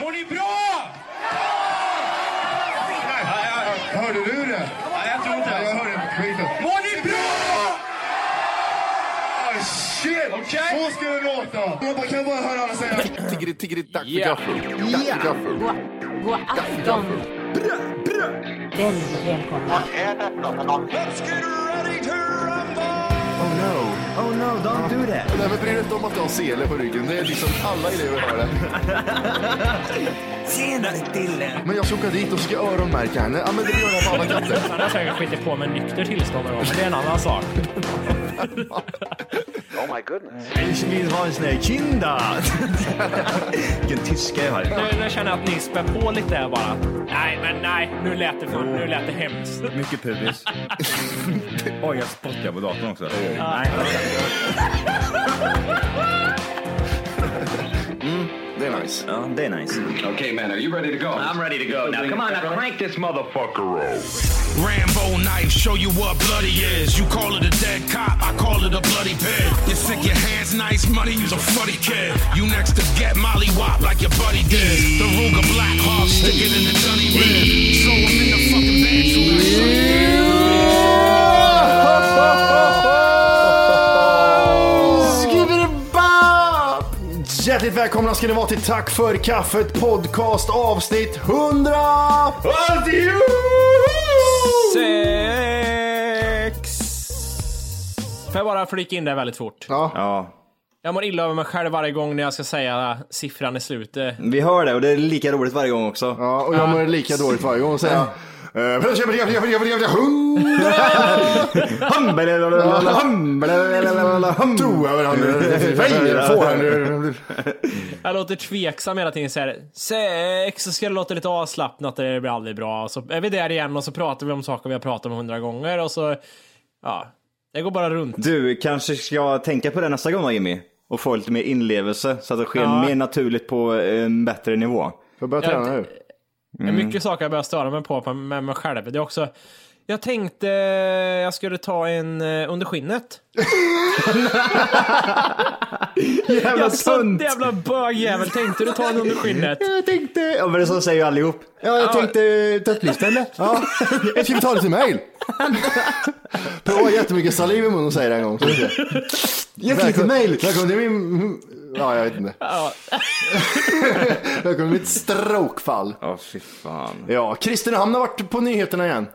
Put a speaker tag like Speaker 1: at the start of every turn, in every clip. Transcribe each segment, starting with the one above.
Speaker 1: Mår ni bra? Ja, ja, ja.
Speaker 2: Hörde du det?
Speaker 1: Ja, jag tror inte
Speaker 2: Ja, jag
Speaker 1: det.
Speaker 2: hörde skiten.
Speaker 1: Mår ni bra?
Speaker 2: Ah, shit!
Speaker 1: Okej.
Speaker 2: Så ska det låta! Man kan bara höra alla säga...
Speaker 3: Tiggeri, tiggeri, dack för
Speaker 4: Yeah.
Speaker 3: gaffel. Dack för
Speaker 5: God,
Speaker 3: gaffel.
Speaker 5: god afton. Väldigt välkomna.
Speaker 3: Oh no.
Speaker 6: Oh no, don't do that.
Speaker 3: Nej, men bry dig inte om att du har sele på ryggen. Det är liksom alla elever har det.
Speaker 6: Senare Dille!
Speaker 3: Men jag ska åka dit och ska öronmärka henne. Ja, men det gör jag på alla katter.
Speaker 4: Han har säkert skitit på med nykter tillstånd då, men det är en annan sak.
Speaker 6: Jag vill ha en sån här kinda. Vilken tyska jag har.
Speaker 4: Nu, nu känner jag att ni spär på lite här bara. Nej, men nej, nu lät det, fan, nu lät det hemskt.
Speaker 7: Mycket pubis. Oj, jag spottar på datorn också. Nej,
Speaker 3: Det är nice.
Speaker 7: ja, det är nice.
Speaker 8: Okay, man, are you ready to go? I'm ready to go. Now, come on, now crank this motherfucker up.
Speaker 9: Rambo knife, show you what bloody is. You call it a dead cop, I call it a bloody pig. You think your hands nice, money, you's a funny kid. You next to get Molly Wop like your buddy did. The Ruger Black Hawk sticking in the dunny rib. Throw him in the fucking van. through that sucker.
Speaker 3: Skibidi-bop! Hjärtligt välkomna ska ni vara till Tack för kaffet podcast avsnitt 100!
Speaker 4: Sex! Får jag bara flika in det väldigt fort?
Speaker 7: Ja,
Speaker 4: Jag mår illa över mig själv varje gång när jag ska säga siffran i slutet.
Speaker 7: vi hör det och det är lika roligt varje gång också.
Speaker 3: Ja, och jag mår lika dåligt varje gång och säger jag Eh,
Speaker 7: Hambalalalalala, hambalalalalala, hum.
Speaker 4: Jag låter tveksam hela tiden. Så här, sex, så ska det låta lite avslappnat och det blir aldrig bra. Så är vi där igen och så pratar vi om saker vi har pratat om hundra gånger och så, ja, det går bara runt.
Speaker 7: Du, kanske ska tänka på det nästa gång va, Jimmy? Och få lite mer inlevelse så att det sker
Speaker 4: Ja.
Speaker 7: mer naturligt på en bättre nivå.
Speaker 3: Jag börjar träna nu.
Speaker 7: Mm.
Speaker 4: Det är mycket saker jag börjar störa mig på på- med mig själv. Det är också, jag tänkte jag skulle ta en eh, under skinnet.
Speaker 7: Jävla
Speaker 4: Jag sån
Speaker 7: sunt!
Speaker 4: jävla bögjävel, tänkte du ta en under skinnet?
Speaker 3: Jag tänkte...
Speaker 7: Ja men det så säger ju allihop.
Speaker 3: Ja, jag tänkte tvättlyften. Ja, jag ska vi ta lite mail? Prova jättemycket saliv i munnen och säger det en gång. så vi ser.
Speaker 7: Jättelite mail!
Speaker 3: Välkommen till min... Ja, jag vet inte. Välkommen till mitt strokefall.
Speaker 7: Ja, fy fan.
Speaker 3: Ja, Kristinehamn har varit på nyheterna igen.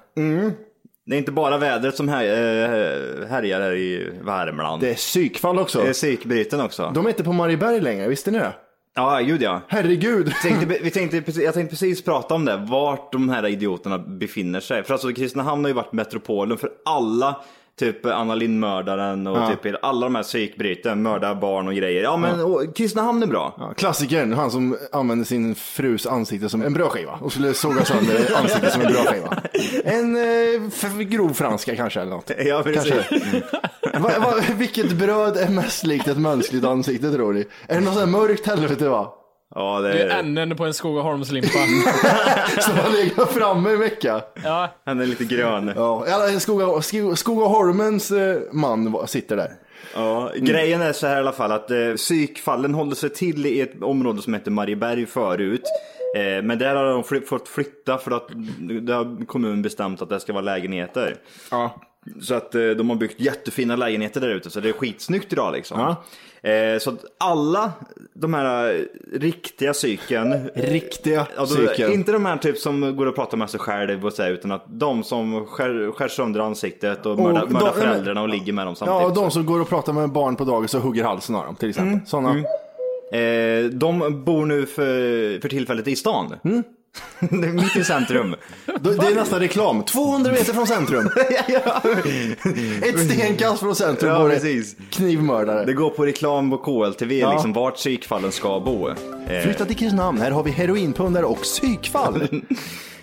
Speaker 7: Det är inte bara vädret som här, eh, härjar här i Värmland.
Speaker 3: Det är psykfall också.
Speaker 7: Det är psykbryten också.
Speaker 3: De är inte på Marieberg längre, visste ni det?
Speaker 7: Ja, gud ja.
Speaker 3: Herregud.
Speaker 7: Tänkte, vi tänkte, precis- jag tänkte precis prata om det, vart de här idioterna befinner sig. För alltså Kristinehamn har ju varit metropolen för alla, typ Anna Lindh-mördaren och
Speaker 3: Ja.
Speaker 7: typ alla de här psykbryten, mörda barn och grejer. Ja men och, Kristinehamn är bra.
Speaker 3: Ja, klassikern, han som använde sin frus ansikte som en brödskiva och skulle såga sönder ansiktet som en brödskiva. En eh, f- grov franska kanske eller något.
Speaker 7: Ja, precis.
Speaker 3: Alltså, Va, va, mm. vilket bröd är mest likt ett mänskligt ansikte tror ni? Är det något sånt här mörkt helvete va?
Speaker 7: Ja, det
Speaker 4: Det är
Speaker 7: är,
Speaker 4: änden på en Skogaholmslimpa.
Speaker 3: Som har legat framme i en vecka.
Speaker 4: Ja,
Speaker 7: han är lite grön.
Speaker 3: Ja, alla Skoga, Skog- Skogaholmens eh, man va- sitter där.
Speaker 7: Ja,
Speaker 3: Mm.
Speaker 7: Grejen är så här i alla fall att eh, psykfallen håller sig till i ett område som heter Marieberg förut. Eh, men där har de fly- fått flytta för att det har kommunen bestämt att det ska vara lägenheter. Så att eh, de har byggt jättefina lägenheter där ute så det är skitsnyggt idag liksom. Eh, så att alla de här eh, riktiga psyken.
Speaker 3: Riktiga
Speaker 7: Eh, Ja, de,
Speaker 3: psyken.
Speaker 7: Inte de här typ som går och pratar med sig själv och så här, utan att de som skär, skär sönder ansiktet och mördar,
Speaker 3: de-
Speaker 7: mördar
Speaker 3: nej, men-
Speaker 7: föräldrarna och ligger med dem samtidigt.
Speaker 3: Ja, de som går och pratar med barn på dagis och hugger halsen av dem till exempel.
Speaker 7: Mm.
Speaker 3: Sådana.
Speaker 7: Eh, de bor nu för, för tillfället i stan. Det är Mitt i centrum.
Speaker 3: Mm. Då- Det är nästan reklam. 200 meter från centrum. Ett stenkast från centrum
Speaker 7: Ja,
Speaker 3: går det
Speaker 7: precis.
Speaker 3: knivmördare.
Speaker 7: Det går på reklam på KLTV,
Speaker 3: Ja.
Speaker 7: liksom vart psykfallen ska bo. Eh,
Speaker 3: Flytta till Kristinehamn, här har vi heroinpundare och psykfall.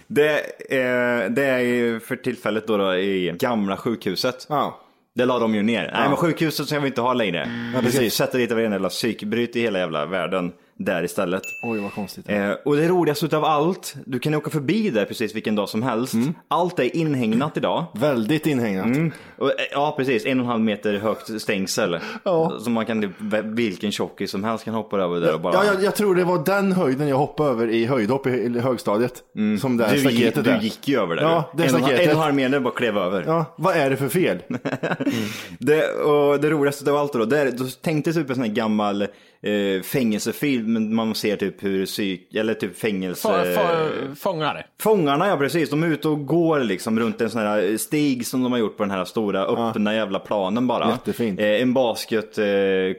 Speaker 7: det, eh, det är ju för tillfället då, då i gamla sjukhuset.
Speaker 3: ja.
Speaker 7: Det la de ju ner. Nej men sjukhuset ska vi inte ha längre. Ja, precis. Sätter dit varenda jävla psykbryt i hela jävla världen. där istället.
Speaker 3: Oj, vad konstigt.
Speaker 7: Eh, och det roligaste utav allt, du kan åka förbi där precis vilken dag som helst.
Speaker 3: Mm.
Speaker 7: Allt är inhägnat idag.
Speaker 3: Väldigt inhägnat.
Speaker 7: Och, eh, ja precis, en och en halv meter högt stängsel.
Speaker 3: Ja.
Speaker 7: Så man kan, typ- vilken tjockis som helst kan hoppa över där och bara...
Speaker 3: Ja, jag, jag tror det var den höjden jag hoppade över i höjdhopp i i högstadiet. Som det här
Speaker 7: du, gick,
Speaker 3: staketet
Speaker 7: du
Speaker 3: där.
Speaker 7: gick ju över där.
Speaker 3: Ja,
Speaker 7: du.
Speaker 3: det
Speaker 7: en, och en, en och
Speaker 3: staketet.
Speaker 7: en halv meter bara klev över.
Speaker 3: Ja, vad är det för fel?
Speaker 7: Det, och det roligaste av allt då, det är, då tänkte typ en sån här gammal eh, fängelsefilm, men man ser typ hur psyk, eller typ fängelse...
Speaker 4: För, för, fångar.
Speaker 7: Fångarna ja, precis. De är ute och går liksom runt en sån här stig som de har gjort på den här stora öppna jävla planen bara.
Speaker 3: Jättefint.
Speaker 7: Eh, en basketkorg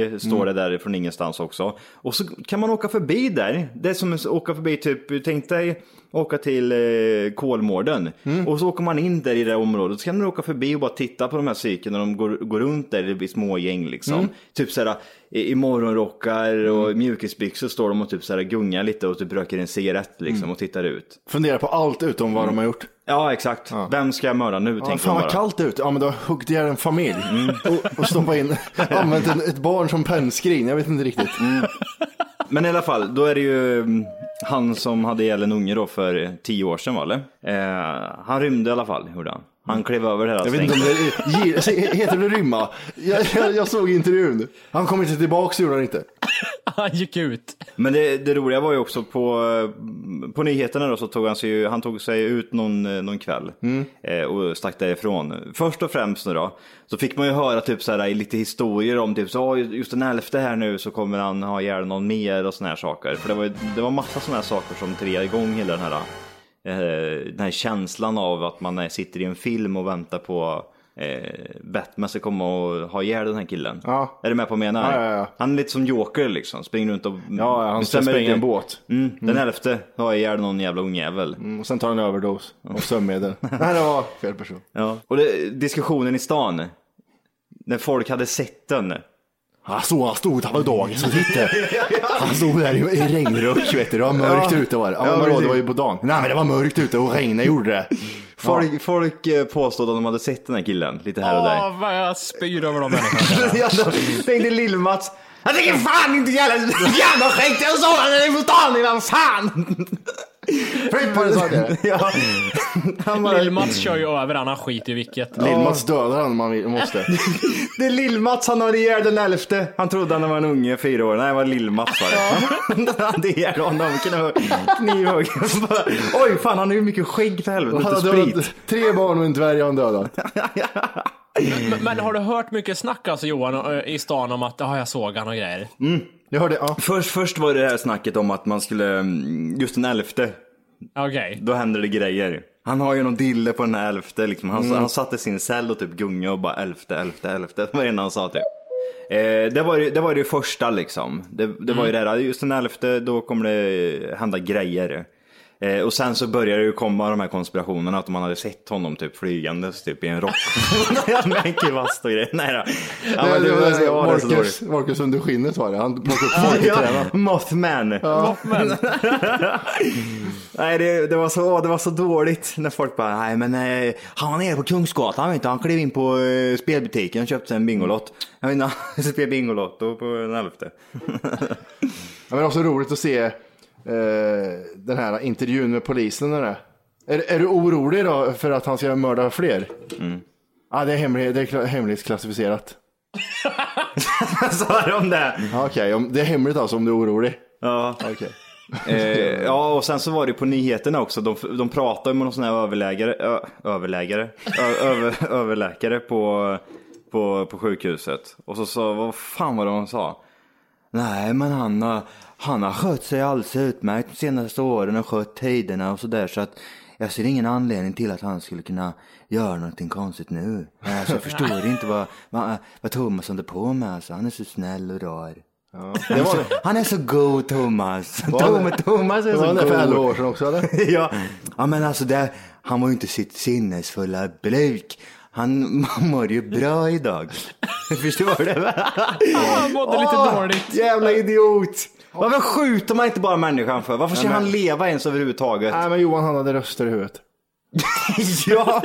Speaker 7: eh, korg står det där från ingenstans också. Och så kan man åka förbi där. Det är som att åka förbi typ, tänk dig åka till eh, Kolmården. Och så åker man in där i det här området. Så kan man åka förbi och bara titta på de här cykeln när de går, går runt där i små gäng liksom. Typ såhär i i morgonrockar och mjukisbyxor står de och typ såhär gungar lite och typ röker en cigarett liksom och tittar ut.
Speaker 3: Fundera på allt utom vad de har gjort.
Speaker 7: Ja, exakt. Vem ska jag mörda nu?
Speaker 3: Ja,
Speaker 7: tänker
Speaker 3: fan
Speaker 7: de
Speaker 3: vad
Speaker 7: bara.
Speaker 3: kallt ut. Ja, men du har huggit ihjäl en familj. Och, och stoppat in, använt en, ett barn som pennskrin. Jag vet inte riktigt.
Speaker 7: Men i alla fall, då är det ju mm, han som hade ihjäl en unge då för tio år sedan, va, eller? Eh, han rymde i alla fall, gjorde han. Han klev över det här
Speaker 3: Jag vet inte om
Speaker 7: stänget.
Speaker 3: det är, Gi- se- heter det rymma. Jag, jag, jag såg intervjun. Han kommer inte tillbaka, gjorde han inte.
Speaker 4: Han gick ut.
Speaker 7: Men det, det roliga var ju också på, på nyheterna då så tog han sig, ju- han tog sig ut någon, någon kväll
Speaker 3: Mm.
Speaker 7: eh, och stack därifrån. Först och främst nu då, så fick man ju höra typ så här, i lite historier om typ så, "Ja, just den elfte här nu så kommer han ha ihjäl någon mer och såna här saker. För det var, ju- det var massa såna här saker som triggade igång hela den här, eh, den här känslan av att man är, sitter i en film och väntar på Eh, Batman ska komma och ha ihjäl den här killen.
Speaker 3: Ja.
Speaker 7: Är du med på vad jag menar?
Speaker 3: Ja, ja, ja.
Speaker 7: Han är lite som Joker liksom, springer runt och
Speaker 3: Ja, ja, han ska
Speaker 7: Bestämmer
Speaker 3: spränga en
Speaker 7: inte.
Speaker 3: båt.
Speaker 7: Mm, den elfte har jag ihjäl någon jävla ungjävel.
Speaker 3: Mm, Och sen tar han en överdos av sömnmedel. Nej, det var fel person.
Speaker 7: Ja. Och det, diskussionen i stan, när folk hade sett den.
Speaker 3: Han stod, han stod, han var dagis och tittade. Han stod där i, i regnruck, vet du. Det var mörkt
Speaker 7: Ja.
Speaker 3: ute var det. Ja,
Speaker 7: Ja,
Speaker 3: men vadå, det
Speaker 7: precis.
Speaker 3: var ju på dagen. Nej, men det var mörkt ute och regnet gjorde det.
Speaker 7: Folk, folk eh, påstod att de hade sett den här killen lite här och där.
Speaker 4: Åh, vad jag spyr över de människorna.
Speaker 7: Jag tänkte lill-Mats. Jag tänker fan inte jävla jävla skägg. Jag såg den på stan innan. Fan!
Speaker 3: Flipp vad du sa det.
Speaker 7: Ja. Han bara,
Speaker 4: Lill-Mats kör ju över han, han skiter i vilket.
Speaker 3: Lill-Mats dödar han om han vill- måste.
Speaker 7: det är lill-Mats han har ihjäl den elfte. Han trodde han var en unge, fyra år. Nej, det var lill-Mats var det. Han hade ihjäl honom. knö- Knivhuggen. Bara, Oj, fan han har ju mycket skägg för helvete.
Speaker 3: Han
Speaker 7: Inte
Speaker 3: har
Speaker 7: sprit.
Speaker 3: dödat tre barn och en dvärg har han dödat.
Speaker 7: Mm.
Speaker 4: Men, men har du hört mycket snack alltså Johan ö, i stan om att ah, jag såg han och grejer?
Speaker 7: Mm.
Speaker 3: Jag hörde, ja.
Speaker 7: Först, först var det det här snacket om att man skulle, mm, just den elfte,
Speaker 4: Okej.
Speaker 7: då händer det grejer. Han har ju någon dille på den här elfte liksom. Han, han satte sin cell och typ gungade och bara elfte, elfte, elfte. Det var det enda han sa typ. Eh, det, var ju, det var ju det första liksom. Det, det var ju det där, just den elfte då kommer det hända grejer. Eh, och sen så började det ju komma de här konspirationerna att man hade sett honom typ flygandes typ i en rock. Med en kivast och grejer. Nej då. Ja, men det, var- ja, det är så
Speaker 3: Marcus,
Speaker 7: dåligt.
Speaker 3: Marcus under skinnet var det. Han plockade upp folk i
Speaker 7: Ja,
Speaker 3: träna.
Speaker 7: Mothman. nej, det, det, var så, det var så dåligt när folk bara, nej men eh, han är på Kungsgatan vet du, han klev in på eh, spelbutiken och köpte sig en Bingolott. Jag vet inte, han spelade Bingolotto på den elfte.
Speaker 3: Ja, men det var så roligt att se eh, den här intervjun med polisen. Där. Är, är du orolig då för att han ska mörda fler? Ja, det är, hemlig, det är kla- hemligt klassificerat.
Speaker 7: Sa de det?
Speaker 3: Ja, Okej, om- det är hemligt alltså om du är orolig.
Speaker 7: Ja.
Speaker 3: Okej.
Speaker 7: Eh, ja, och sen så var det på nyheterna också. De, de pratade med någon sån här överlägare, ö, överlägare, ö, över, överläkare på, på, på sjukhuset. Och så sa, vad fan var det de sa? Nej, men han, har- han har skött sig alldeles utmärkt de senaste åren och skött tiderna och sådär så att jag ser ingen anledning till att han skulle kunna göra någonting konstigt nu. Men Alltså, jag förstår inte vad, vad, vad Thomas håller på med alltså. Han är så snäll och rar. Han, är så, han är så god Thomas. Tom, Thomas är
Speaker 3: Det var
Speaker 7: så
Speaker 3: det för 11
Speaker 7: god.
Speaker 3: år sedan också eller?
Speaker 7: ja. ja men alltså det, han var ju inte sitt sinnesfulla bruk. Han mår ju bra idag. Förstår du?
Speaker 4: Han mådde lite
Speaker 7: Åh,
Speaker 4: dåligt.
Speaker 7: Jävla idiot. Varför skjuter man inte bara människan för? Varför ska han leva ens överhuvudtaget?
Speaker 3: Nej, men Johan han hade röster i huvudet.
Speaker 7: ja,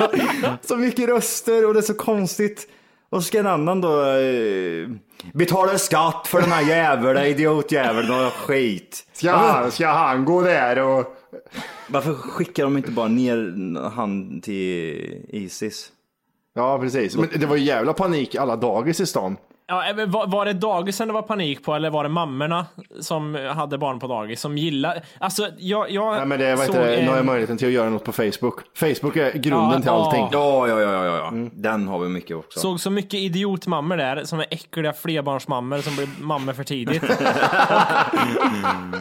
Speaker 7: så mycket röster och det är så konstigt. Och så ska en annan då eh, betala skatt för den här jävla idiotjäveln och skit.
Speaker 3: Ska han, ska han gå där och...
Speaker 7: Varför skickar de inte bara ner han till Isis?
Speaker 3: Ja, precis. Men det var ju jävla panik i alla dagis i stan.
Speaker 4: Ja, eh, men var, var det dagisen det var panik på eller var det mammorna som hade barn på dagis som gillade? Alltså, jag, jag
Speaker 3: Nej, men det var
Speaker 4: såg eh,
Speaker 3: inte Nu har jag
Speaker 4: en...
Speaker 3: möjligheten till att göra något på Facebook. Facebook är grunden
Speaker 4: Ja,
Speaker 3: till allting.
Speaker 7: Ja,
Speaker 4: ja.
Speaker 7: ja, ja, ja, ja. Den har vi mycket också.
Speaker 4: Såg så mycket idiotmammor där, som är äckliga flerbarnsmammor som blir mammor för tidigt.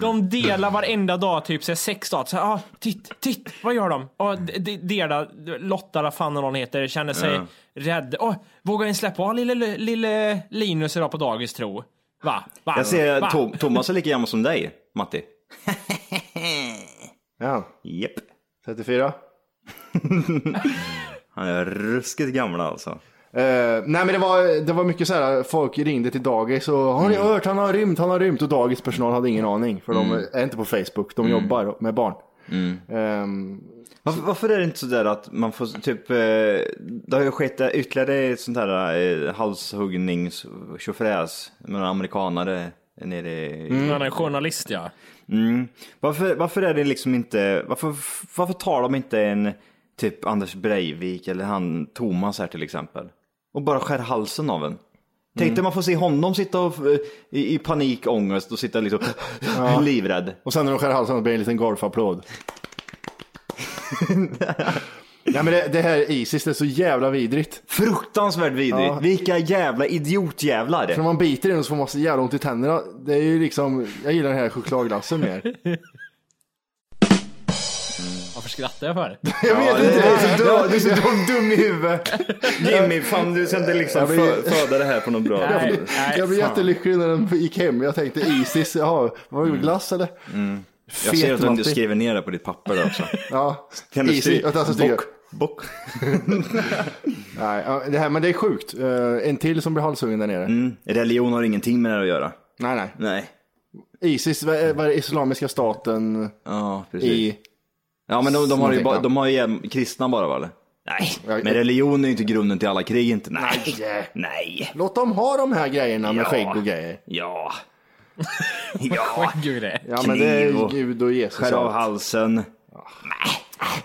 Speaker 4: de delar varenda dag, typ så här, sex dagar. Så här, ah, titt, titt, vad gör de? Ah, de- de- delar, Lotta eller fan vad hon heter, känner sig rädd. Ah, vågar inte släppa ah, lille, lille Linus idag på dagis tro. Va? Va?
Speaker 7: Jag ser
Speaker 4: Va?
Speaker 7: Tom, Thomas är lika gammal som dig, Matti.
Speaker 3: Ja.
Speaker 7: Japp.
Speaker 3: 34.
Speaker 7: Han är ruskigt gammal alltså.
Speaker 3: Eh, nej men det var, det var mycket så här, folk ringde till dagis och har ni hört, han har rymt, han har rymt och dagispersonal hade ingen aning för de är inte på Facebook, de jobbar med barn. Ehm,
Speaker 7: Varför, varför är det inte sådär att man får typ, eh, det har ju skett eh, ytterligare ett sånt här eh, halshuggningstjofräs med några amerikanare nere i...
Speaker 4: Han är journalist ja.
Speaker 7: Mm. Varför, varför är det liksom inte, varför, varför tar de inte en typ Anders Breivik eller han Thomas här till exempel och bara skär halsen av en? Tänk
Speaker 3: Mm.
Speaker 7: dig man får se honom sitta och, eh, i, i panikångest och sitta liksom livrädd.
Speaker 3: och sen när de skär halsen blir det en liten golfapplåd. nej men det, det här Isis, det är så jävla vidrigt.
Speaker 7: Fruktansvärt vidrigt.
Speaker 3: Ja.
Speaker 7: Vilka jävla idiotjävlar.
Speaker 3: För när man biter i den så får man så jävla ont i tänderna. Det är ju liksom, jag gillar den här chokladglassen mer.
Speaker 4: Varför skrattar jag för?
Speaker 3: Jag vet inte, det är så
Speaker 7: dum, du är så dum, dum i huvudet. Jimmy, fan du ska inte liksom fö- föda det här på något bra.
Speaker 4: Nej.
Speaker 3: Jag blev
Speaker 4: fan.
Speaker 3: jättelycklig när den gick hem. Jag tänkte Isis, jaha, var det glass eller?
Speaker 7: Mm. Jag ser
Speaker 3: Fet
Speaker 7: att du
Speaker 3: Matti.
Speaker 7: skriver ner det på ditt papper där också.
Speaker 3: Ja,
Speaker 7: Kan du
Speaker 3: Isis.
Speaker 7: stry-
Speaker 3: Alltså, stryka.
Speaker 7: bock, bock.
Speaker 3: Nej, ja, det här, men det är sjukt. Eh, En till som blir halshuggen där nere.
Speaker 7: Mm. Religion har ingenting med det här att göra.
Speaker 3: Nej, nej.
Speaker 7: Nej.
Speaker 3: Isis, vad är vad är Islamiska staten
Speaker 7: Ja, precis.
Speaker 3: i...
Speaker 7: Ja, men de, de, har ju
Speaker 3: Någonting,
Speaker 7: bara,
Speaker 3: va?
Speaker 7: de har ju jäm- kristna bara, va? eller? Nej,
Speaker 3: Ja,
Speaker 7: men religion är ju inte grunden till alla krig inte. Nej.
Speaker 3: Nej.
Speaker 7: Nej.
Speaker 3: Låt dem ha de här grejerna med
Speaker 7: Ja.
Speaker 3: skägg och grejer.
Speaker 7: Ja. Ja.
Speaker 4: Gud, det.
Speaker 3: Ja, men det är
Speaker 7: Kniv
Speaker 3: ju
Speaker 7: och-
Speaker 3: Gud och Jesus.
Speaker 7: Skär av
Speaker 3: och allt.
Speaker 7: halsen.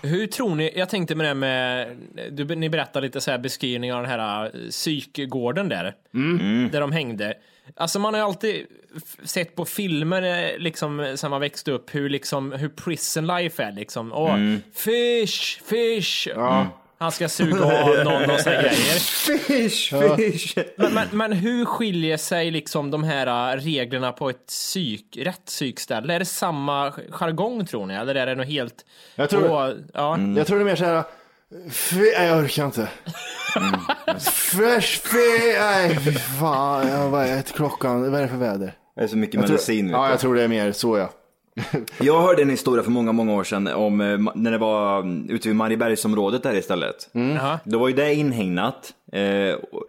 Speaker 4: Hur tror ni, jag tänkte med det här med, du, ni berättade lite så här beskrivning av den här eh, psykgården där,
Speaker 7: Mm.
Speaker 4: där de hängde. Alltså man har ju alltid f- sett på filmer eh, liksom sen man växte upp hur liksom, hur prison life är liksom. Åh,
Speaker 7: Mm.
Speaker 4: fish, fish. Han ska suga av någon och sådana grejer.
Speaker 7: Fish, fish.
Speaker 4: Men, men, men hur skiljer sig liksom de här eh, reglerna på ett psyk, rätt psykställe? Är det samma jargong tror ni? Eller är det något helt...
Speaker 3: Jag tror- Mm.
Speaker 4: Åh, ja.
Speaker 3: Jag tror det är mer så här... Fy, nej, jag orkar inte.
Speaker 7: Mm.
Speaker 3: Fresh fy, nej fy fan. Ja, vad är klockan? Vad är det för väder?
Speaker 7: Det är så mycket
Speaker 3: Jag tror-
Speaker 7: medicin. vet
Speaker 3: Ja,
Speaker 7: du.
Speaker 3: jag tror det är mer så ja.
Speaker 7: Jag hörde en historia för många, många år sedan om eh, ma- när det var mm, ute vid Mariebergsområdet där istället.
Speaker 4: Jaha.
Speaker 7: Då var ju det inhägnat. Eh, och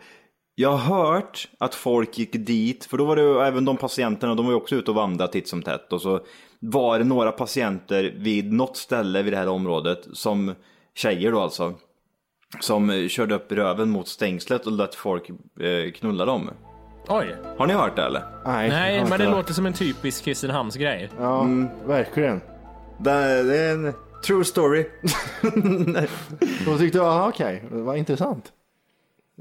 Speaker 7: jag har hört att folk gick dit, för då var det ju även de patienterna, de var ju också ute och vandrade titt som tätt. Och så var det några patienter vid något ställe vid det här området, som tjejer då alltså, som eh, körde upp röven mot stängslet och lät folk eh, knulla dem.
Speaker 4: Oj.
Speaker 7: Har ni hört det eller?
Speaker 4: Nej,
Speaker 3: jag har
Speaker 4: men det Mm.
Speaker 3: inte-
Speaker 4: låter som en typisk Kristinehamnsgrej.
Speaker 3: Ja, verkligen.
Speaker 7: Det, det är en true story.
Speaker 3: Då tyckte jag, aha, okej, det var intressant.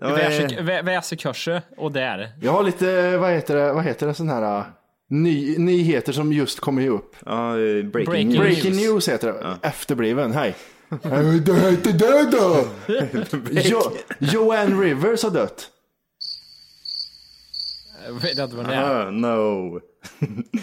Speaker 4: Väse- vä- Väsekurser och där.
Speaker 3: Jag har lite, vad heter det, vad heter det sån här uh, ny, nyheter som just kommer upp.
Speaker 7: Ja, eh, breaking,
Speaker 4: Breaking
Speaker 7: news.
Speaker 3: Breaking
Speaker 4: News.
Speaker 3: news heter det. Efterbliven, hej. Är du död, är död då? jo, Joanne Rivers har dött.
Speaker 4: Jag vet inte vad det är.
Speaker 7: Ah, no.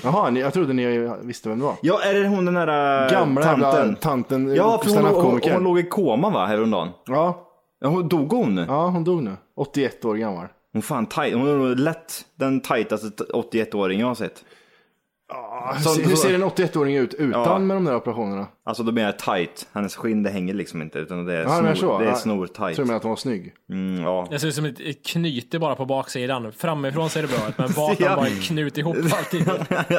Speaker 3: Jaha, ni, jag trodde ni visste vem det var.
Speaker 7: Ja, är det hon den där eh,
Speaker 3: Gamla jävla
Speaker 7: tanten?
Speaker 3: tanten, eh,
Speaker 7: ja, för hon, hon,
Speaker 3: standup-komikern.
Speaker 7: hon låg i koma va, häromdagen?
Speaker 3: Ja,
Speaker 7: Ja, hon dog hon?
Speaker 3: ja, hon dog nu. 81 år gammal.
Speaker 7: Hon fan taj- hon är nog lätt den tajtaste t- 81-åring jag har sett.
Speaker 3: Så,
Speaker 7: Så-
Speaker 3: hur
Speaker 7: så-
Speaker 3: ser en 81-åring ut utan
Speaker 7: Ja.
Speaker 3: med de där operationerna?
Speaker 7: Alltså då menar jag tight, hennes skinn det hänger liksom inte utan det är,
Speaker 3: Ja, men
Speaker 7: snor,
Speaker 3: så.
Speaker 7: det är
Speaker 3: Ja, Jag
Speaker 7: snortajt.
Speaker 3: tror att hon var snygg.
Speaker 7: Mm, ja.
Speaker 4: Det ser ut som ett ett knyte bara på baksidan. Framifrån ser det bra ut, men bak har
Speaker 7: Ja.
Speaker 4: man bara knut ihop alltid.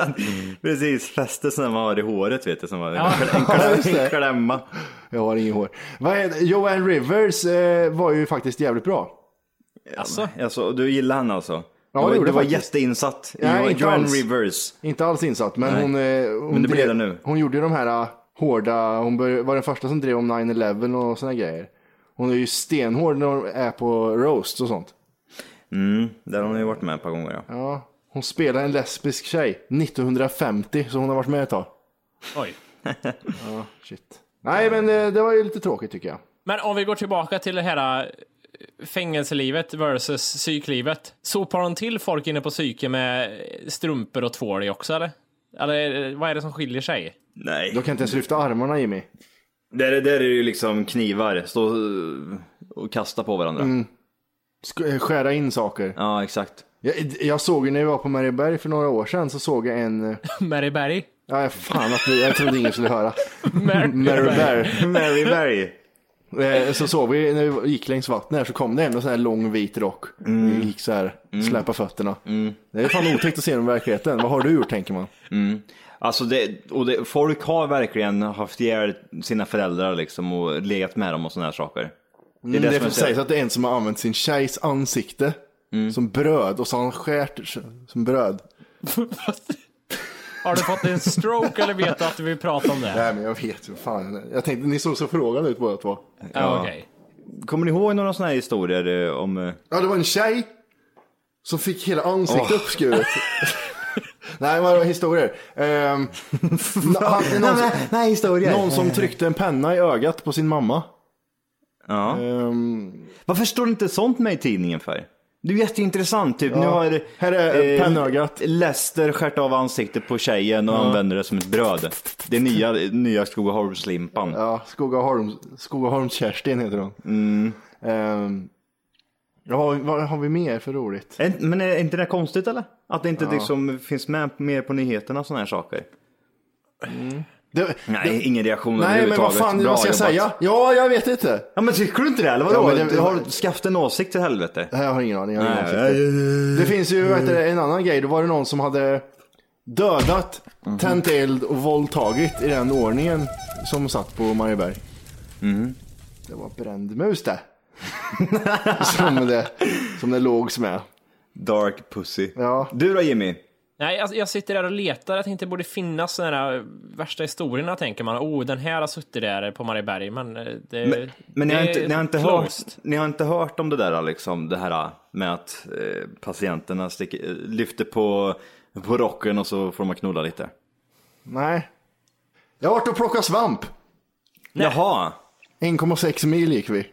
Speaker 7: Precis, fäste som man har i håret vet du, som var
Speaker 4: Ja.
Speaker 7: en, kläm,
Speaker 3: det.
Speaker 7: en klämma.
Speaker 3: Jag har inget hår. Vad är det? Joanne Rivers eh, var ju faktiskt jävligt bra.
Speaker 4: Alltså,
Speaker 7: Alltså, du gillar han alltså?
Speaker 3: Ja,
Speaker 7: du
Speaker 3: det
Speaker 7: var,
Speaker 3: gjorde
Speaker 7: du
Speaker 3: jag
Speaker 7: var
Speaker 3: faktiskt.
Speaker 7: jätteinsatt i
Speaker 3: Nej,
Speaker 7: Joan-
Speaker 3: inte
Speaker 7: Joan
Speaker 3: alls.
Speaker 7: Rivers.
Speaker 3: Inte alls insatt, men
Speaker 7: Nej.
Speaker 3: hon... eh, hon
Speaker 7: Men du blir
Speaker 3: drev-
Speaker 7: det nu.
Speaker 3: Hon gjorde ju de här ah, hårda, hon bör, var den första som drev om 9-11 och såna grejer. Hon är ju stenhård när hon är på roast och sånt.
Speaker 7: Mm, där har hon ju varit med ett par gånger ja.
Speaker 3: Ja, hon spelar en lesbisk tjej 1950, så hon har varit med ett tag.
Speaker 4: oj.
Speaker 3: Shit. Nej, men eh, det var ju lite tråkigt tycker jag.
Speaker 4: Men om vi går tillbaka till det här eh, fängelselivet versus psyklivet. Sopar de till folk inne på psyke med strumpor och tvål i också eller? Eller eh, vad är det som skiljer sig?
Speaker 7: Nej.
Speaker 3: Då kan jag inte ens lyfta armarna Jimmy.
Speaker 7: Där, är- där är det ju liksom knivar, stå eh, och kasta på varandra.
Speaker 3: Mm. Sk- eh, Skära in saker.
Speaker 7: Ja, exakt.
Speaker 3: Jag, jag såg ju när jag var på Marieberg för några år sedan så såg jag en... eh,
Speaker 4: Mary Berry?
Speaker 3: Ja, fan att jag trodde ingen skulle höra.
Speaker 4: Mary,
Speaker 3: Marieberg.
Speaker 7: Mary Berry.
Speaker 3: Eh, Så såg vi när vi gick längs vattnet här så kom det en med sån här lång vit rock. Vi gick så här, släpa fötterna. Det är fan otäckt att se dem i verkligheten. Vad har du gjort tänker man.
Speaker 7: Alltså det, och det, folk har verkligen haft ihjäl sina föräldrar liksom och legat med dem och sådana här saker.
Speaker 3: Mm, Det,
Speaker 7: det
Speaker 3: är
Speaker 7: som
Speaker 3: därför
Speaker 7: jag
Speaker 3: det
Speaker 7: säger.
Speaker 3: sägs att det är en som har använt sin tjejs ansikte som bröd och så har han skärt som bröd.
Speaker 4: Har du fått en stroke eller vet du att vi pratar om det?
Speaker 3: Nej men jag vet ju fan. Jag tänkte, ni såg så frågande ut båda två.
Speaker 4: Ja, okej.
Speaker 7: Kommer ni ihåg några sådana här historier eh, om... eh,
Speaker 3: Ja det var en tjej som fick hela ansiktet uppskuret. Nej, vad var historier? Ehm, na- han, någon, som,
Speaker 7: Nej, historier!
Speaker 3: någon som tryckte en penna i ögat på sin mamma.
Speaker 7: Ja.
Speaker 3: Ehm,
Speaker 7: Varför står det inte sånt med i tidningen för? Det är ju jätteintressant, typ. Nu har
Speaker 3: Här är pennögat.
Speaker 7: Lester skärt av ansiktet på tjejen och använder det som ett bröd. Det är nya, nya Skogaholmslimpan.
Speaker 3: Ja, Skogaholms, Skogaholms Kerstin heter hon. Ehm, ja, vad har vi mer för roligt?
Speaker 7: Är- Men är inte det konstigt eller? Att det inte liksom finns med mer på nyheterna sådana här saker.
Speaker 3: Det,
Speaker 7: Nej, ingen reaktion
Speaker 3: nej, men vad
Speaker 7: överhuvudtaget.
Speaker 3: fan,
Speaker 7: Bra
Speaker 3: vad ska jag
Speaker 7: jobbat.
Speaker 3: säga? Ja, jag vet inte.
Speaker 7: Ja men tycker du inte det eller vadå?
Speaker 3: Ja, men det-
Speaker 7: Du har skaffat en åsikt till helvete.
Speaker 3: Nej, Jag har ingen aning. Jag har ingen
Speaker 7: Nej.
Speaker 3: åsikt. Det finns ju vet du, en annan grej. Då var det någon som hade dödat,
Speaker 7: Mhm.
Speaker 3: tänt eld och våldtagit i den ordningen som satt på Marieberg.
Speaker 7: Mhm.
Speaker 3: Det var bränd mus det. som, det som det lågs med.
Speaker 7: Dark pussy.
Speaker 3: Ja.
Speaker 7: Du då Jimmy?
Speaker 4: Nej, alltså, jag sitter där och letar. Jag tänkte det borde finnas sådana här eh, värsta historierna, tänker man. Oh, den här har suttit där på Marieberg, men eh, det...
Speaker 7: Men, men ni, har
Speaker 4: det
Speaker 7: inte,
Speaker 4: är
Speaker 7: ni, har inte hört,
Speaker 4: closed.
Speaker 7: ni har inte hört om det där liksom, det här med att eh, patienterna sticker, eh, lyfter på, på rocken och så får man knulla lite?
Speaker 3: Nej. Jag har varit och plockat svamp.
Speaker 7: Jaha!
Speaker 3: 1,6 mil gick vi.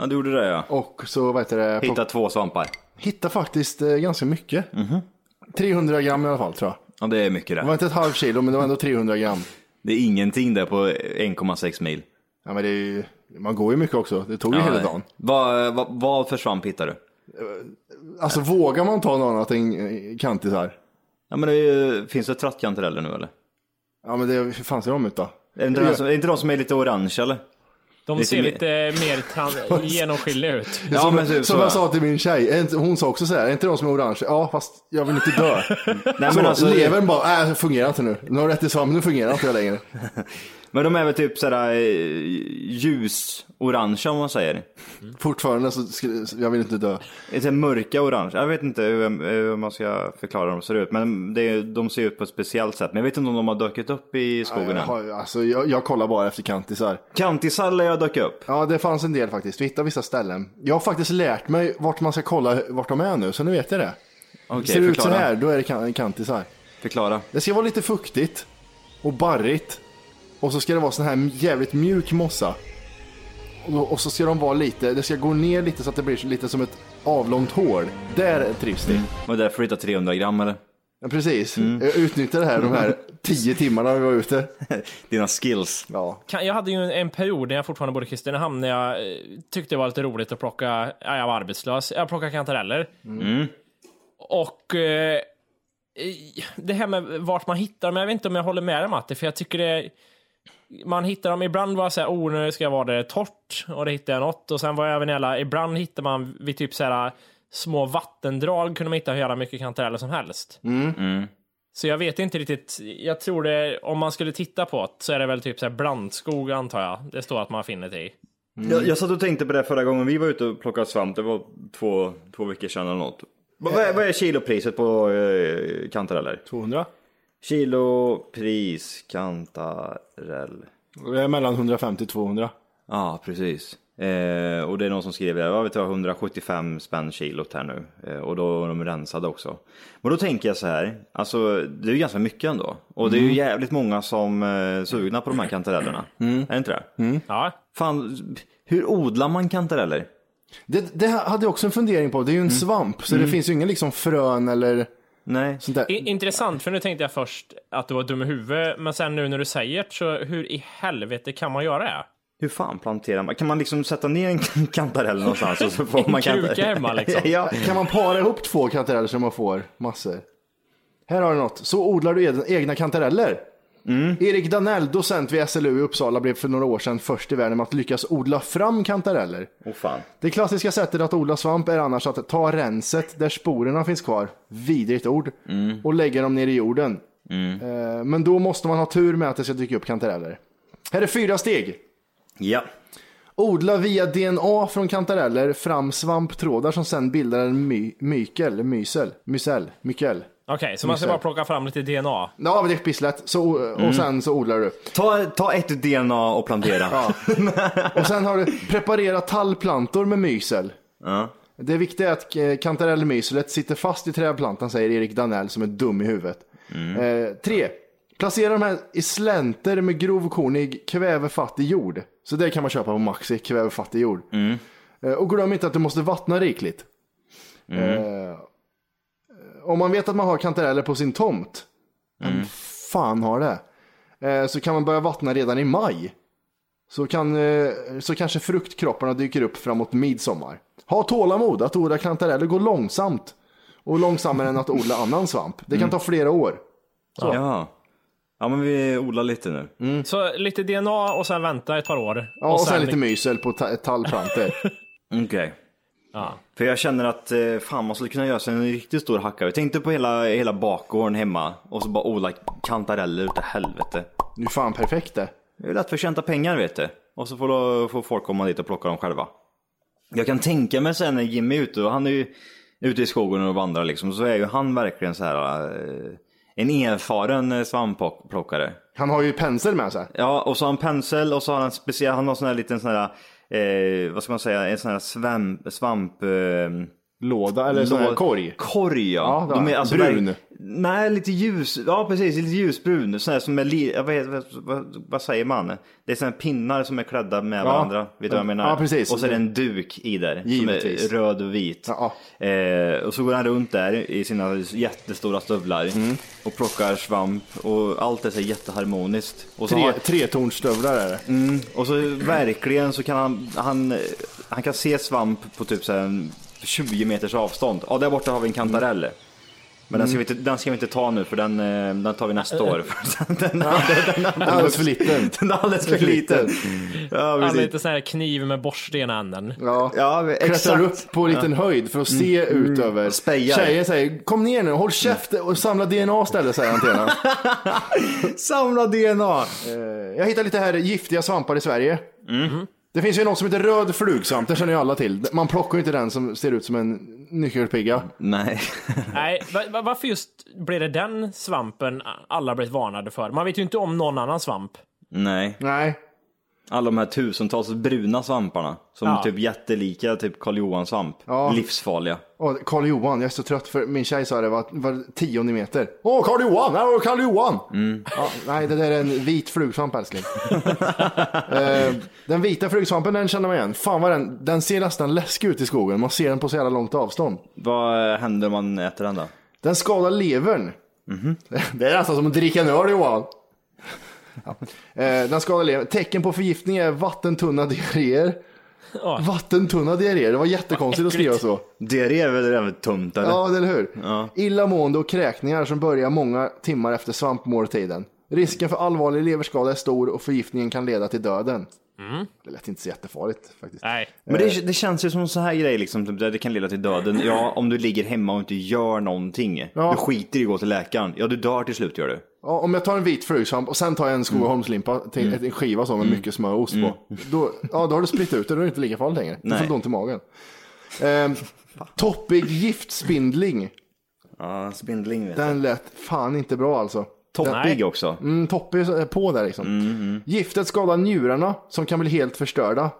Speaker 7: Ja du gjorde det ja.
Speaker 3: Och så vad heter det? plock-
Speaker 7: Hitta två svampar.
Speaker 3: Hittade faktiskt eh, ganska mycket.
Speaker 7: Mhm.
Speaker 3: 300 gram i alla fall tror jag.
Speaker 7: Ja det är mycket
Speaker 3: Det var
Speaker 7: det.
Speaker 3: inte ett halvt kilo men det var ändå 300 gram.
Speaker 7: Det är ingenting där på 1,6 mil.
Speaker 3: Ja, men det är ju, man går ju mycket också. Det tog ju
Speaker 7: Ja,
Speaker 3: hela
Speaker 7: nej.
Speaker 3: dagen.
Speaker 7: Vad, vad, vad för svamp hittar du?
Speaker 3: Alltså vågar man ta något annat än eh, kantisar?
Speaker 7: Ja men det är, ju- finns det trattkantareller nu eller?
Speaker 3: Ja men det, hur fan ser de ut då?
Speaker 7: Är det inte, de som, är det inte de som är lite orange eller?
Speaker 4: De
Speaker 7: Lite
Speaker 4: ser
Speaker 7: mer-
Speaker 4: lite mer tran- genomskinliga ut.
Speaker 7: Ja,
Speaker 3: som,
Speaker 7: men typ
Speaker 3: som
Speaker 7: så,
Speaker 3: jag
Speaker 7: ja.
Speaker 3: sa till min tjej, är inte- hon sa också så här, är inte de som är orange? Ja fast jag vill inte dö.
Speaker 7: Nej,
Speaker 3: så
Speaker 7: men, alltså,
Speaker 3: levern bara, äh, det fungerar inte nu. Nu har du rätt i svamp, nu fungerar inte jag längre.
Speaker 7: men de är väl typ sådär ljus-orange om man säger.
Speaker 3: Fortfarande så, sk- jag vill inte dö.
Speaker 7: Lite mörka orange. Jag vet inte hur, hur man ska förklara hur de ser ut. Men det, är- de ser ut på ett speciellt sätt. Men jag vet inte om de har dökt upp i skogen
Speaker 3: Jag,
Speaker 7: än.
Speaker 3: har- alltså, jag, jag kollar bara efter kantisar.
Speaker 7: Kantisar lär jag dök upp.
Speaker 3: Ja det fanns en del faktiskt, vi hittade vissa ställen. Jag har faktiskt lärt mig vart man ska kolla vart de är nu, så nu vet jag det.
Speaker 7: Okej,
Speaker 3: ser det ut så
Speaker 7: förklara.
Speaker 3: här, då är det kan- kantisar.
Speaker 7: Förklara.
Speaker 3: Det ska vara lite fuktigt och barrigt. Och så ska det vara sån här jävligt mjuk mossa. Och, och så ska de vara lite, det ska gå ner lite så att det blir lite som ett avlångt hål. Där trivs det.
Speaker 7: Var det därför du hittade 300 gram eller?
Speaker 3: Ja, precis. Jag utnyttjar det här de här tio timmarna vi var ute.
Speaker 7: Dina skills.
Speaker 3: Ja.
Speaker 4: Kan- Jag hade ju en- en period när jag fortfarande bodde i Kristinehamn när jag eh, tyckte det var lite roligt att plocka, ja, jag var arbetslös, jag plockade kantareller. Och eh, eh, det här med vart man hittar dem, jag vet inte om jag håller med dig Matti, för jag tycker det man hittar dem, ibland var jag såhär, oh nu ska jag vara där torrt, och det hittade jag något. Och sen var jag även jävla, ibland hittar man vid typ såhär små vattendrag kunde man hitta hur jävla mycket kantareller som helst. Så jag vet inte riktigt. Jag tror det, om man skulle titta på det så är det väl typ så här blandskog antar jag. Det står att man finner det i.
Speaker 7: Jag, jag satt och tänkte på det förra gången vi var ute och plockade svamp, det var två, två veckor sedan eller något. Vad, vad är- vad är kilopriset på eh, kantareller?
Speaker 3: 200?
Speaker 7: Kilopris kantarell.
Speaker 3: Det är mellan 150 och 200.
Speaker 7: Ja, precis. Eh, och det är någon som skriver ja, vi tar 175 spänn kilot här nu. Eh, och då är de rensade också. Men då tänker jag så här, alltså det är ju ganska mycket ändå. Och det är ju jävligt många som eh, är sugna på de här kantarellerna. Är det inte det?
Speaker 4: Ja.
Speaker 7: Fan, hur odlar man kantareller?
Speaker 3: Det, det hade jag också en fundering på. Det är ju en svamp, så det finns ju ingen liksom frön eller
Speaker 7: Nej.
Speaker 3: sånt där.
Speaker 4: I, intressant, för nu tänkte jag först att du var dum i huvudet, men sen nu när du säger det, så hur i helvete kan man göra det?
Speaker 7: Hur fan planterar man? Kan man liksom sätta ner en kantarell någonstans och så får man
Speaker 4: kruka
Speaker 7: kantareller?
Speaker 4: hemma, liksom.
Speaker 7: ja.
Speaker 3: Kan man para ihop två kantareller som man får massor? Här har du något. Så odlar du ed- egna kantareller. Erik Danell, docent vid SLU i Uppsala, blev för några år sedan först i världen med att lyckas odla fram kantareller.
Speaker 7: Åh fan.
Speaker 3: Det klassiska sättet att odla svamp är annars att ta renset där sporerna finns kvar, vidrigt ord, och lägga dem ner i jorden. Eh, Men då måste man ha tur med att det ska dyka upp kantareller. Här är fyra steg.
Speaker 7: Ja.
Speaker 3: Odla via DNA från kantareller fram svamptrådar som sen bildar en my- mykel, mysel, mysel, mykel.
Speaker 4: Okej, så man ska bara plocka fram lite DNA.
Speaker 3: Ja, men det är pisslätt. Så, och sen så odlar du.
Speaker 7: Ta, ta ett DNA och plantera.
Speaker 3: Och sen har du preparerat tallplantor med mysel.
Speaker 7: Ja.
Speaker 3: Det viktiga är att eh, kantarellmyselet sitter fast i trädplantan, säger Erik Danell som är dum i huvudet. Eh, tre, placera de här i slänter med grovkornig kvävefattig jord. Så det kan man köpa på Maxi, kvävefattig jord. Eh, och glöm inte att du måste vattna rikligt. Eh, om man vet att man har kantareller på sin tomt, vem fan har det? Eh, så kan man börja vattna redan i maj. Så, kan, eh, så kanske fruktkropparna dyker upp framåt midsommar. Ha tålamod, att odla kantareller går långsamt. Och långsammare än att odla annan svamp. Det kan ta flera år.
Speaker 7: Ja. ja, men vi odlar lite nu.
Speaker 4: Så lite DNA och sen vänta ett par år.
Speaker 3: Mm.
Speaker 4: liksom-
Speaker 3: Ja, och, sen, lite mysel på ta- tallplantor.
Speaker 7: Mm, Okej.
Speaker 4: Ja.
Speaker 7: För jag känner att eh, fan man skulle kunna göra sig en riktigt stor hacka. Jag tänkte på hela, hela bakgården hemma och så bara odla kantareller utav helvete.
Speaker 3: nu fan perfekt det.
Speaker 7: Det är lätt förtjänta pengar vet du. Och så får, då, får folk komma dit och plocka dem själva. Jag kan tänka mig sen när Jimmy är ute, och han är ju ute i skogen och vandrar liksom, så är ju han verkligen så här eh, en erfaren eh, svampplockare.
Speaker 3: Han har ju pensel med sig.
Speaker 7: Ja, och så har han pensel och så har han en speciell, han har sån här liten sån här, eh, vad ska man säga, en sån här svamp, svamp eh,
Speaker 3: Låda eller sån här
Speaker 7: Lå-
Speaker 3: korg.
Speaker 7: Korg ja.
Speaker 3: Ja, det var- brun.
Speaker 7: där- nej, lite ljus. Ja, precis. Lite ljusbrun. Sån här som är, li, ja, vad, heter- vad, vad, vad säger man? Det är såna här pinnar som är klädda med varandra. Vet du vad jag menar?
Speaker 3: Ja, precis.
Speaker 7: Och så är det en duk i där.
Speaker 3: Givetvis.
Speaker 7: Som är röd och vit.
Speaker 3: Ja,
Speaker 7: Eh, och så går han runt där i sina jättestora stövlar.
Speaker 3: Mm.
Speaker 7: Och plockar svamp. Och allt är så här jätteharmoniskt. Och så
Speaker 3: Tre,
Speaker 7: har,
Speaker 3: tretornstövlar är det.
Speaker 7: Mm, och så verkligen så kan han, han, han kan se svamp på typ så här en 20 meters avstånd. Ja, där borta har vi en kantarell. Men den, ska vi inte, den ska vi inte ta nu för den, eh, den tar vi nästa år. den, den, den, den,
Speaker 3: Alldeles för liten.
Speaker 7: den är alldeles för liten. Mm. Ja,
Speaker 4: Han
Speaker 7: precis.
Speaker 4: lite sån här kniv med borste i ena änden.
Speaker 3: Ja. Mm.
Speaker 7: Ja,
Speaker 3: Klättrar
Speaker 7: exakt.
Speaker 3: upp på en liten höjd för att se ut över.
Speaker 7: Spejar.
Speaker 3: Tjejer säger kom ner nu, håll käft och samla DNA istället säger han till henne.
Speaker 7: Samla DNA.
Speaker 3: Eh, Jag hittar lite här giftiga svampar i Sverige. Det finns ju något som heter röd flugsvamp, det känner ju alla till. Man plockar ju inte den som ser ut som en nyckelpigga.
Speaker 7: Nej.
Speaker 4: Nej, va- va- varför just blev det den svampen alla blivit varnade för? Man vet ju inte om någon annan svamp.
Speaker 7: Nej.
Speaker 3: Nej,
Speaker 7: Alla de här tusentals bruna svamparna. Som
Speaker 4: Ja.
Speaker 7: typ jättelika typ Karl Johan svamp. Livsfarliga.
Speaker 3: Åh, Karl Johan, jag är så trött för min tjej sa det var, var tionde meter. Åh, Karl Johan, här har du Karl Johan! Ja, nej, det där är en vit flugsvamp älskling. eh, den vita flugsvampen, den känner man igen. Fan vad den, den ser nästan läskig ut i skogen. Man ser den på så jävla långt avstånd.
Speaker 7: Vad händer om man äter den då?
Speaker 3: Den skadar levern. Mhm. Det är nästan som att dricka en öl Johan. Ja. Eh, Den skadar levern. Tecken på förgiftning är vattentunna diarréer. Vattentunna diarréer, det var jättekonstigt att skriva så.
Speaker 7: Diarré är väl även tumt eller?
Speaker 3: Ja, eller hur? Illamående och kräkningar som börjar många timmar efter svampmåltiden. Risken för allvarlig leverskada är stor och förgiftningen kan leda till döden. Det lät inte så jättefarligt faktiskt.
Speaker 4: Nej.
Speaker 7: Men det, det känns ju som så här grej liksom, typ, där det kan leda till döden. Ja, om du ligger hemma och inte gör någonting.
Speaker 3: Ja.
Speaker 7: Du skiter i att gå till läkaren. Ja, du dör till slut gör du.
Speaker 3: Ja, om jag tar en vit fruksvamp och sen tar jag en
Speaker 7: Mm.
Speaker 3: Skogaholmslimpa, till en skiva så med mycket smör och ost på. Då, ja, då har du spritt ut det, då är det inte lika farligt längre. Du
Speaker 7: Nej.
Speaker 3: får ont i magen. Ehm, toppig giftspindling,
Speaker 7: Ja, spindling vet
Speaker 3: den lät fan inte bra alltså.
Speaker 7: Toppig också.
Speaker 3: Mm, toppig är på där liksom.
Speaker 7: Mm,
Speaker 3: Giftet skadar njurarna som kan bli helt förstörda.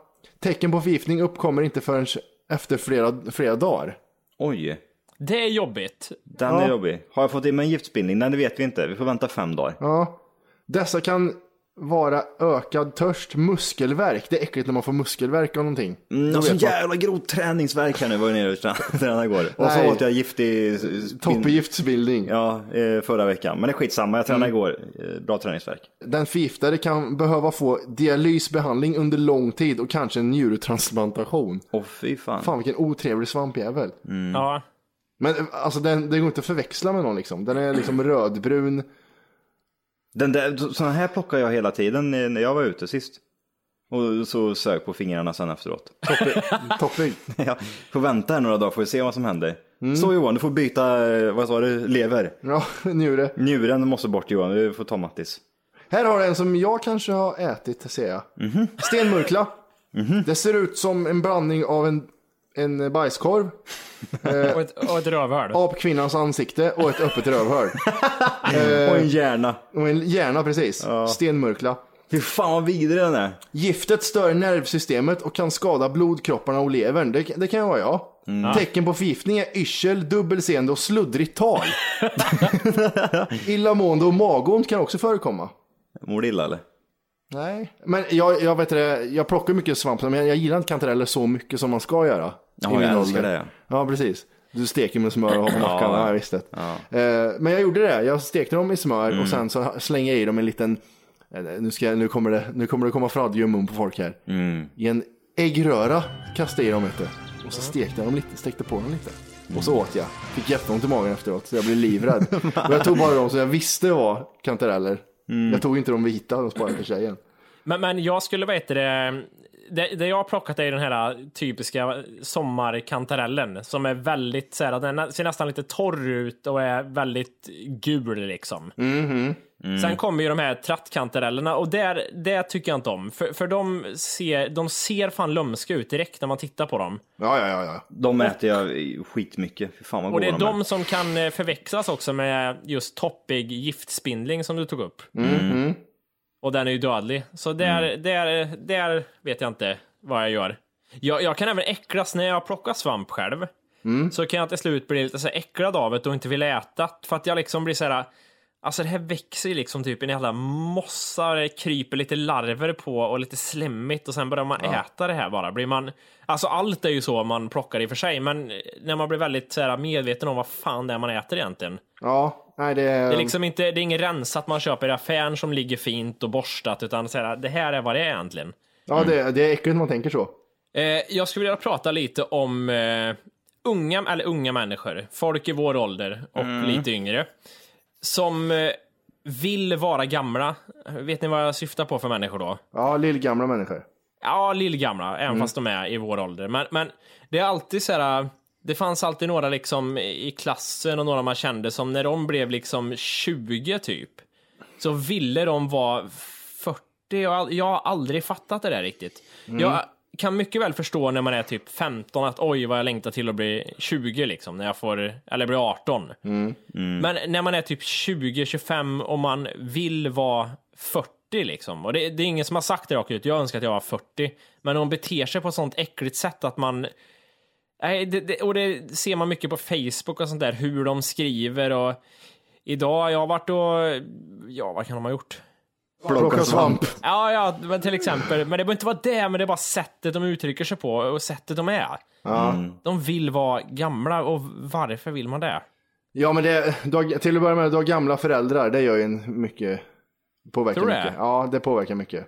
Speaker 3: Tecken på förgiftning uppkommer inte förrän efter flera, flera dagar.
Speaker 7: Oj,
Speaker 4: Det är jobbigt.
Speaker 7: den är jobbig. Har jag fått i mig en giftspindling? Nej, det vet vi inte. Vi får vänta fem dagar.
Speaker 3: Ja. Dessa kan vara ökad törst, muskelvärk. Det är äckligt när man får muskelvärk av någonting.
Speaker 7: Mm,
Speaker 3: Då
Speaker 7: alltså,
Speaker 3: vet man.
Speaker 7: jävla grov träningsvärk här nu var jag nere och trä- tränade igår. Och
Speaker 3: Nej.
Speaker 7: så åt jag giftig... spin-
Speaker 3: Toppgiftsbildning.
Speaker 7: Ja, eh, förra veckan. Men det är skitsamma, jag tränade igår. Eh, Bra träningsvärk.
Speaker 3: Den förgiftade kan behöva få dialysbehandling under lång tid och kanske en njurtransplantation.
Speaker 7: Åh fy fan.
Speaker 3: Fan vilken otrevlig svampjävel.
Speaker 4: Ja.
Speaker 3: Men eh, alltså den, den går inte att förväxla med någon liksom. Den är liksom rödbrun.
Speaker 7: Den där, såna här plockar jag hela tiden eh, när jag var ute sist. Och så sög på fingrarna sen efteråt.
Speaker 3: Toppig.
Speaker 7: jag får vänta här några dagar, får vi se vad som händer.
Speaker 4: Mm.
Speaker 7: Så Johan, du får byta, eh, vad sa du, lever.
Speaker 3: Ja, njure.
Speaker 7: Njuren måste bort Johan, du får ta Mattis.
Speaker 3: Här har du en som jag kanske har ätit ser jag. Stenmurkla. Det ser ut som en blandning av en, en bajskorv,
Speaker 4: Och ett, och ett rövhål.
Speaker 3: apkvinnans ansikte och ett öppet rövhål.
Speaker 7: Och en hjärna.
Speaker 3: Och en hjärna precis. Stenmurkla.
Speaker 7: Fy fan vad vidrig den är.
Speaker 3: Giftet stör nervsystemet och kan skada blodkropparna och levern. Det, det kan vara jag.
Speaker 7: Mm.
Speaker 3: Tecken på förgiftning är yrsel, dubbelseende och sluddrigt tal. Illamående och magont kan också förekomma.
Speaker 7: Mår du illa eller?
Speaker 3: Nej, men jag, jag vet det, jag plockar mycket svamp, men jag gillar inte kantareller så mycket som man ska göra.
Speaker 7: Ja,
Speaker 3: I min
Speaker 7: jag
Speaker 3: ålder.
Speaker 7: älskar det.
Speaker 3: Ja, precis. Du steker med smör och har på mackan, ja, jag visste.
Speaker 7: Ja.
Speaker 3: Eh, men jag gjorde det, jag stekte dem i smör och sen så slänger jag i dem en liten, eh, nu, ska, jag- nu, kommer, det, nu kommer det komma fradge i mun på folk här. I en äggröra kastade jag i dem vet du. Och så stekte jag dem lite, stekte på dem lite. Och så åt jag. Fick jätteont i magen efteråt, så jag blev livrädd. och jag tog bara dem som jag visste var kantareller. Jag tog inte de vita, de sparade för tjejen.
Speaker 4: Men, men jag skulle veta det, det. Det jag har plockat är den här typiska sommarkantarellen som är väldigt så här, den nä- ser nästan lite torr ut och är väldigt gul liksom. Sen kommer ju de här trattkantarellerna och där, det tycker jag inte om. För, för de, ser, de ser fan lömska ut direkt när man tittar på dem.
Speaker 3: Ja, ja, ja. ja.
Speaker 7: De äter jag skitmycket. Fy fan vad
Speaker 4: Och det
Speaker 7: goda
Speaker 4: är
Speaker 7: de
Speaker 4: de som kan eh, förväxlas också med just toppig giftspindling som du tog upp. Och den är ju dödlig. Så där, där, där vet jag inte vad jag gör. Jag, jag kan även äcklas när jag plockar svamp själv. Så kan jag till slut bli lite så här äcklad av det och inte vill äta det, för att jag liksom blir så här. Alltså det här växer ju liksom typ i en jävla mossa, det kryper lite larver på och lite slemmigt och sen börjar man äta det här bara. Blir man, alltså allt är ju så man plockar i och för sig, men när man blir väldigt så här, medveten om vad fan det är man äter egentligen.
Speaker 3: Ja, nej det är...
Speaker 4: Det är liksom inte, det är inget rensat man köper i affären som ligger fint och borstat, utan så här, det här är vad det är egentligen.
Speaker 3: Ja, det, det är äckligt när man tänker så.
Speaker 4: Eh, jag skulle vilja prata lite om eh, unga, eller unga människor, folk i vår ålder och lite yngre, som eh, vill vara gamla. Vet ni vad jag syftar på för människor då?
Speaker 3: Ja, lillgamla människor.
Speaker 4: Ja, lillgamla, även fast de är i vår ålder. Men, men det är alltid så här, det fanns alltid några liksom i klassen och några man kände som när de blev liksom 20 typ, så ville de vara 40. Jag, har- jag har aldrig fattat det där riktigt. Jag kan mycket väl förstå när man är typ 15 att oj vad jag längtar till att bli 20 liksom, när jag får, eller bli 18. Men när man är typ 20-25 och man vill vara 40 liksom. Och det, det är ingen som har sagt det rakt ut. Jag önskar att jag var 40. Men de beter sig på ett sånt äckligt sätt att man... Nej, det, det, och det ser man mycket på Facebook och sånt där, hur de skriver och... Idag, jag har varit och... Ja, vad kan de ha gjort?
Speaker 3: Plocka svamp.
Speaker 4: Ja, ja, men till exempel. Men det behöver inte vara det, men det är bara sättet de uttrycker sig på och sättet de är.
Speaker 3: Mm.
Speaker 4: De vill vara gamla och varför vill man det?
Speaker 3: Ja, men det, du har, till att börja med, du har gamla föräldrar. Det gör ju en mycket... Påverkar
Speaker 4: Tror du
Speaker 3: mycket.
Speaker 4: det?
Speaker 3: Ja, det påverkar mycket.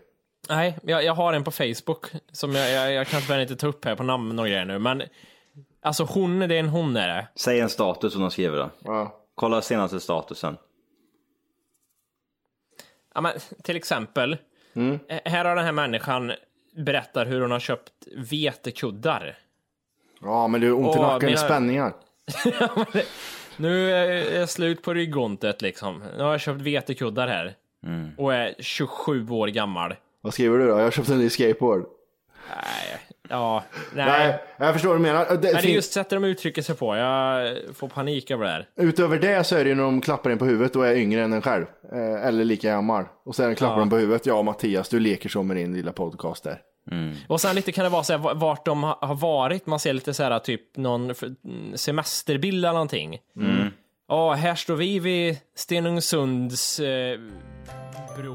Speaker 4: Nej, jag, jag har en på Facebook som jag, jag, jag kan tyvärr inte ta upp här på namn och grejer nu, men alltså hon, det är en hon är det.
Speaker 7: Säg en status som de skriver då.
Speaker 3: Ja.
Speaker 7: Kolla senaste statusen.
Speaker 4: Ja, men, till exempel, eh, här har den här människan berättar hur hon har köpt vetekuddar.
Speaker 3: Ja, men du, ont i
Speaker 4: Åh,
Speaker 3: nacken,
Speaker 4: mina-
Speaker 3: spänningar.
Speaker 4: Nu är jag slut på ryggontet liksom. Nu har jag köpt vetekuddar här. Och är 27 år gammal.
Speaker 3: Vad skriver du då? Jag köpte en ny skateboard.
Speaker 4: Ja, nej.
Speaker 3: Nej, jag förstår vad du menar. Det,
Speaker 4: Men det är
Speaker 3: fin-
Speaker 4: just sättet de uttrycker sig på. Jag får panik över det här.
Speaker 3: Utöver det så är det ju när de klappar en på huvudet och är yngre än en själv. Eh, eller lika gammal. Och sen klappar de på huvudet. Ja, Mattias, du leker som med din lilla podcast där.
Speaker 4: Och sen lite kan det vara så här, vart de ha- har varit. Man ser lite så här typ någon f- semesterbild eller någonting. Mm. Ja, här står vi vid Stenungsunds eh, bro.